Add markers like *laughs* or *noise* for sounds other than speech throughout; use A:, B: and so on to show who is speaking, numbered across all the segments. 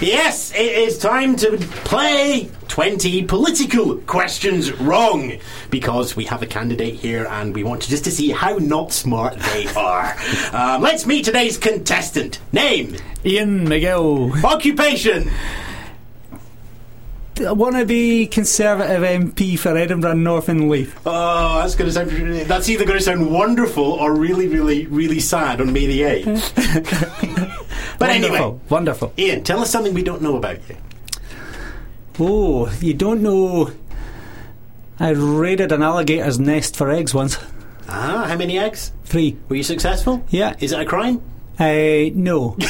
A: Yes, it is time to play 20 political questions wrong because we have a candidate here and we want to just to see how not smart they *laughs* are. um, let's meet today's contestant. Name,
B: Ian McGill.
A: occupation,
B: I want to be Conservative MP for Edinburgh North and Leith.
A: *laughs* Oh, that's going to sound. That's either going to sound wonderful or really, really, really sad on May the 8th. *laughs* but
B: wonderful,
A: anyway,
B: wonderful.
A: Ian, tell us something we don't know about you.
B: Oh, you don't know. I raided an alligator's nest for eggs once.
A: Ah, how many eggs?
B: Three.
A: Were you successful?
B: Yeah.
A: Is it a crime?
B: Uh, no. *laughs*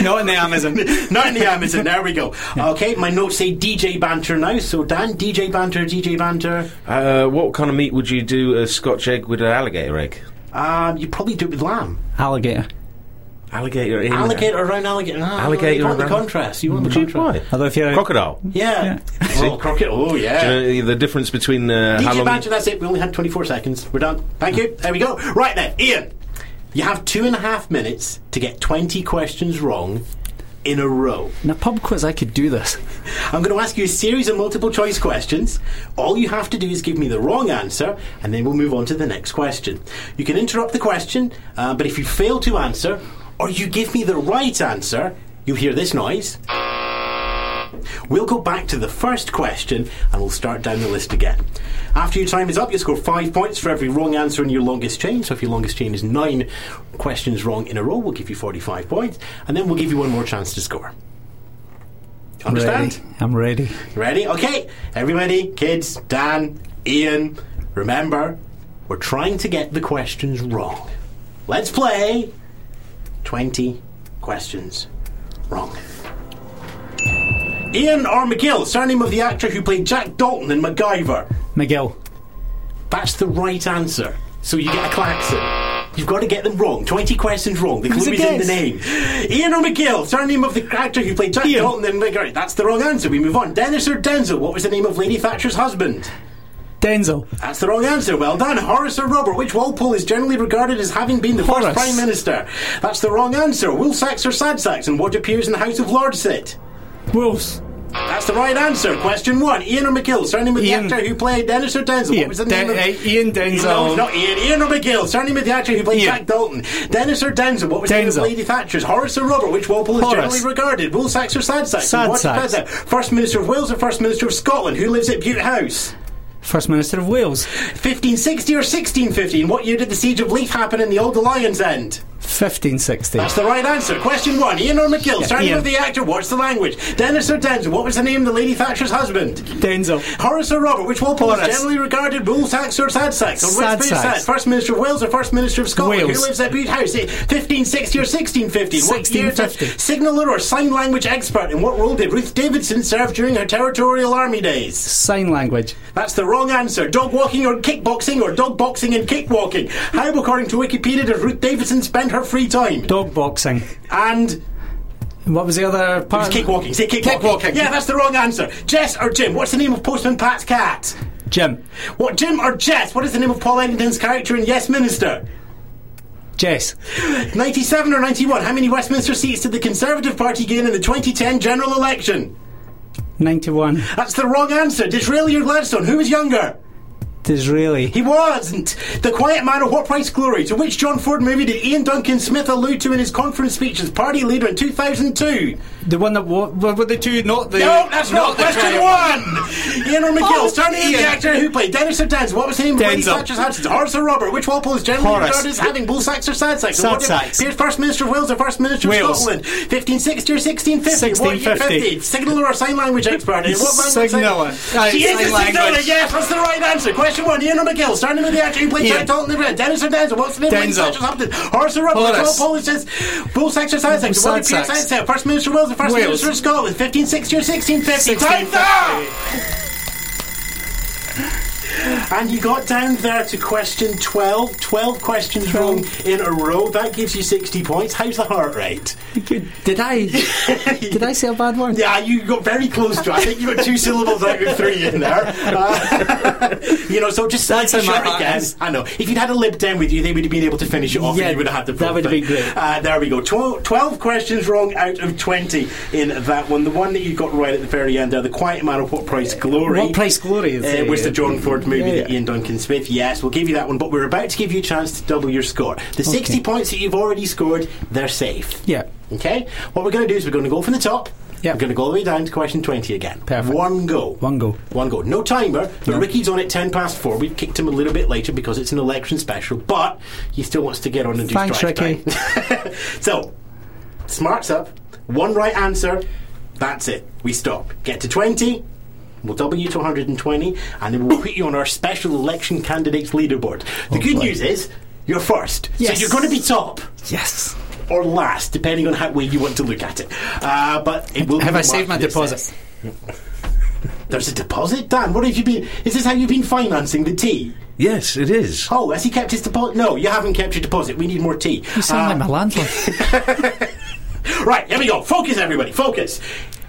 B: Not in the Amazon.
A: *laughs* Not in the Amazon. There we go. Okay, my notes say DJ banter now. So Dan, DJ banter, DJ banter.
C: Uh, what kind of meat would you do a Scotch egg with an alligator egg?
A: Um, you probably do it with lamb.
B: Alligator.
C: Alligator. In
A: Alligator around alligator. Ah,
C: Alligator
A: You want the
C: around-
A: contrast? You want the
C: Would you
A: contrast?
C: try?
B: Although if you're
C: Crocodile.
A: Yeah.
C: See?
A: Oh, crocodile. Oh, yeah.
C: Do you know the difference between uh, how
A: DJ
C: long?
A: Banter, that's it. We only had 24 seconds. We're done. Thank you. There we go. Right then, Ian, you have two and a half minutes to get 20 questions wrong in a row.
B: in a pub quiz, I could do this.
A: I'm going to ask you a series of multiple choice questions. All you have to do is give me the wrong answer, and then we'll move on to the next question. You can interrupt the question, uh, but if you fail to answer, or you give me the right answer, you'll hear this noise. We'll go back to the first question and we'll start down the list again. After your time is up, you score five points for every wrong answer in your longest chain. So if your longest chain is nine questions wrong in a row, we'll give you 45 points, and then we'll give you one more chance to score. Understand?
B: Ready. I'm ready.
A: Ready? Okay, everybody, kids, Dan, Ian, remember, we're trying to get the questions wrong. Let's play 20 questions wrong. Ian or McGill, surname of the actor who played Jack Dalton in MacGyver.
B: McGill.
A: That's the right answer. So you get a klaxon. You've got to get them wrong. 20 questions wrong. The
B: was
A: clue
B: a
A: is in the
B: guess.
A: name. Ian or McGill, surname of the actor who played Jack
B: Ian.
A: Dalton in McGill. That's the wrong answer. We move on. Dennis or Denzel, what was the name of Lady Thatcher's husband?
B: Denzel.
A: That's the wrong answer. Well done. Horace or Robert, which Walpole is generally regarded as having been the
B: Horace.
A: first Prime Minister? That's the wrong answer. Woolsacks or Sadsacks, and what appears in the House of Lords sit?
B: Wolves.
A: That's the right answer. Question one. Ian or McGill, surname of
B: Ian.
A: the actor who played Dennis or Denzel?
B: Ian.
A: What was the
B: Den-
A: name of...
B: eh, Ian Denzel.
A: No, it's not Ian. Ian or McGill. Surname of the actor who played
B: Ian.
A: Jack Dalton. Dennis or Denzel. What was the name of
B: Denzel.
A: Lady Thatcher's? Horace or Robert? Which Walpole is
B: Horace.
A: generally regarded? Woolsacks or Sadsacks?
B: Sadsacks.
A: What depends on- First Minister of Wales or First Minister of Scotland? Who lives at Butte House?
B: First Minister of Wales.
A: 1560 or 1615? What year did the Siege of Leith happen in the Old Alliance end?
B: 1560.
A: That's the right answer. Question one. Ian or McGill. Surname
B: Ian.
A: of the actor. What's the language? Dennis or Denzel. What was the name of the Lady Thatcher's husband?
B: Denzel.
A: Horace or Robert, which Walpole is
B: Horace.
A: generally regarded rule tax or sad sax? Or
B: Sad
A: West
B: sax.
A: sax. First Minister of Wales or First Minister of Scotland?
B: Wales.
A: Who lives at Bute House? Eh, 1560 or 1650? What year did-
B: 1650.
A: Signaller or sign language expert? And what role did Ruth Davidson serve during her territorial army days?
B: Sign language.
A: That's the wrong answer. Dog walking or kickboxing or dog boxing and kickwalking? How, according to Wikipedia, did Ruth Davidson spend her free time?
B: Dog boxing.
A: And
B: What was the other part?
A: it's kickwalking. Say kickwalking.
B: Kickwalking.
A: Yeah, that's the wrong answer. Jess or Jim? What's the name of Postman Pat's cat?
B: Jim.
A: What, Jim or Jess? What is the name of Paul Eddington's character in Yes Minister?
B: Jess.
A: 97 or 91? How many Westminster seats did the Conservative Party gain in the 2010 general election?
B: 91.
A: That's the wrong answer. Disraeli or Gladstone? Who was younger?
B: Disraeli.
A: He wasn't. The Quiet Man or What Price Glory? To which John Ford movie did Ian Duncan Smith allude to in his conference speech as party leader in 2002?
B: The one that wa- were, were the two, not the.
A: No, that's not
B: the
A: question
B: trial.
A: one. Ian or McGill,
B: Oh,
A: surname of the
B: Ian.
A: actor who played Dennis or Denzel. What was the name of Lady
B: Denzel.
A: Thatcher's husband? Horace or Robert? Which Walpole is generally
B: Horace.
A: regarded as having bull sacks or sad sacks?
B: Sad
A: What did-
B: sacks.
A: appeared First Minister of Wales or First Minister of
B: Wales.
A: Scotland? 1560 or 1650? What year
B: 1650?
A: 50? Signaller or sign language expert? And what language-
B: Signaller. Aye,
A: She is
B: sign
A: a signaller,
B: language.
A: yes, that's the right answer. Question one, Ian or McGill, surname of the actor who played
B: Ian.
A: Jack Dalton in the Red. Dennis or Denzel? What's the name of Lady
B: Denzel.
A: Thatcher's husband? Horace or Robert?
B: Horace.
A: Which Walpole is just bull sacks or sad sacks? What
B: Sad
A: appeared
B: sacks.
A: sad sacks? First Minister of Wales or First
B: Wales.
A: Minister of Scotland, 1560 or 1650.
B: 1650.
A: Time's up! *laughs* And you got down there to question 12. 12 questions wrong in a row. That gives you 60 points. How's the heart rate?
B: Did
A: *laughs*
B: I? did I say a bad word?
A: Yeah, you got very close to. I think you got two syllables out of three in
B: *laughs*
A: there. Uh, *laughs* you know, so just
B: That's
A: slightly
B: in my
A: short again.
B: eyes.
A: I know. If you'd had a lib den with you, they would have been able to finish it off.
B: Yeah,
A: and you would have had the.
B: that
A: full
B: would have
A: thing.
B: been great.
A: Uh, there we go. Twelve, 12 questions wrong out of twenty in that one. The one that you got right at the very end there, the Quiet Man of What Price Glory.
B: What Price Glory is
A: Uh,
B: it?
A: was the John Ford movie
B: Yeah,
A: that
B: yeah.
A: Ian Duncan Smith. Yes, we'll give you that one, but we're about to give you a chance to double your score. The sixty points that you've already scored, they're safe.
B: Yeah.
A: Okay, what we're going to do is we're going to go from the top.
B: Yeah.
A: We're going to go all the way down to question 20 again.
B: Perfect.
A: One go.
B: One go.
A: One go. No timer, but Ricky's on at 10 past 4. We've kicked him a little bit later because it's an election special, but he still wants to get on and do
B: Thanks,
A: strike
B: Ricky.
A: time. *laughs* so, smarts up. One right answer. That's it. We stop. Get to 20. We'll double you to 120, and then we'll put you on our special election candidates leaderboard. The good
B: boy.
A: news is, you're first.
B: Yes.
A: So you're going to be top
B: Yes.
A: or last, depending on how way you want to look at it. Uh, but it will
B: Have
A: be
B: I saved my
A: marked as
B: deposit?
A: success. There's a deposit, Dan. What have you been? Is this how you've been financing the tea?
C: Yes, it is.
A: Oh, has he kept his deposit? No, you haven't kept your deposit. We need more tea.
B: You sound
A: Uh,
B: like my
A: *laughs*
B: landlord.
A: right, here we go. Focus, everybody. Focus.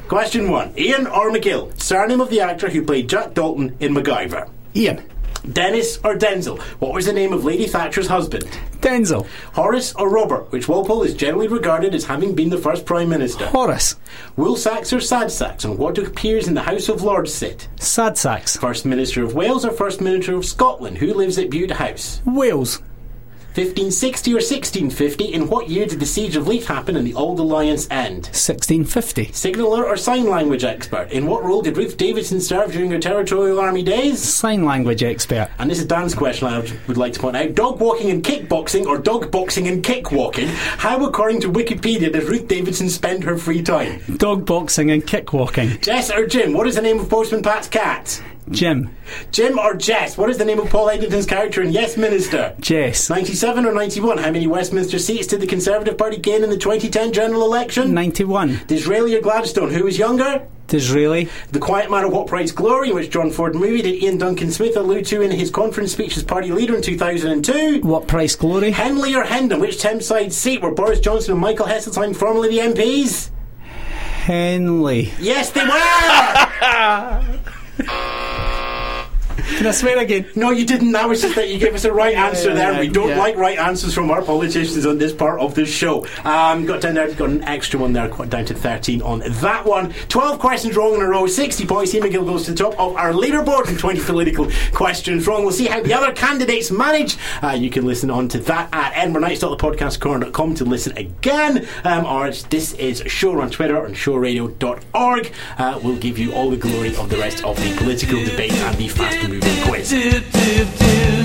A: Question one: Ian or McGill? Surname of the actor who played Jack Dalton in MacGyver.
B: Ian.
A: Dennis or Denzel? What was the name of Lady Thatcher's husband?
B: Denzel.
A: Horace or Robert, which Walpole is generally regarded as having been the first prime minister.
B: Horace.
A: Wool sacks or sad sacks, and what do peers in the House of Lords sit?
B: Sad sacks.
A: First Minister of Wales or First Minister of Scotland? Who lives at Bude House?
B: Wales.
A: 1560 or 1650? In what year did the Siege of Leith happen and the Old Alliance end?
B: 1650.
A: Signaller or sign language expert? In what role did Ruth Davidson serve during her territorial army days?
B: Sign language expert.
A: And this is Dan's question I would like to point out. Dog walking and kickboxing or dog boxing and kick walking? How, according to Wikipedia, does Ruth Davidson spend her free time?
B: Dog boxing and kick walking.
A: Jess or Jim, what is the name of Postman Pat's cat?
B: Jim.
A: Jim or Jess? What is the name of Paul Edgerton's character in Yes Minister?
B: Jess.
A: 97 or 91? How many Westminster seats did the Conservative Party gain in the 2010 general election?
B: 91.
A: Disraeli or Gladstone? Who was younger?
B: Disraeli.
A: The Quiet Man of What Price Glory, which John Ford movie did Ian Duncan Smith allude to in his conference speech as party leader in 2002?
B: What price glory?
A: Henley or Hendon? Which Thameside seat were Boris Johnson and Michael Heseltine formerly the MPs?
B: Henley.
A: Yes, they were!
B: Can I swear again?
A: No, you didn't. That was just that you gave us a right answer
B: yeah,
A: there.
B: yeah,
A: We don't
B: yeah.
A: like right answers from our politicians on this part of this show. Um, got down there, got an extra one there, got down to 13 on that one. 12 questions wrong in a row, 60 points. Ian McGill goes to the top of our leaderboard and 20 political questions wrong. We'll see how the other candidates manage. Uh, you can listen on to that at edinburghnights.thepodcastcorner.com to listen again. Um, or it's- this is Shore on Twitter and shoreradio.org. Uh, we'll give you all the glory of the rest of the political debate and the fast moving quiz.
D: do, do, do.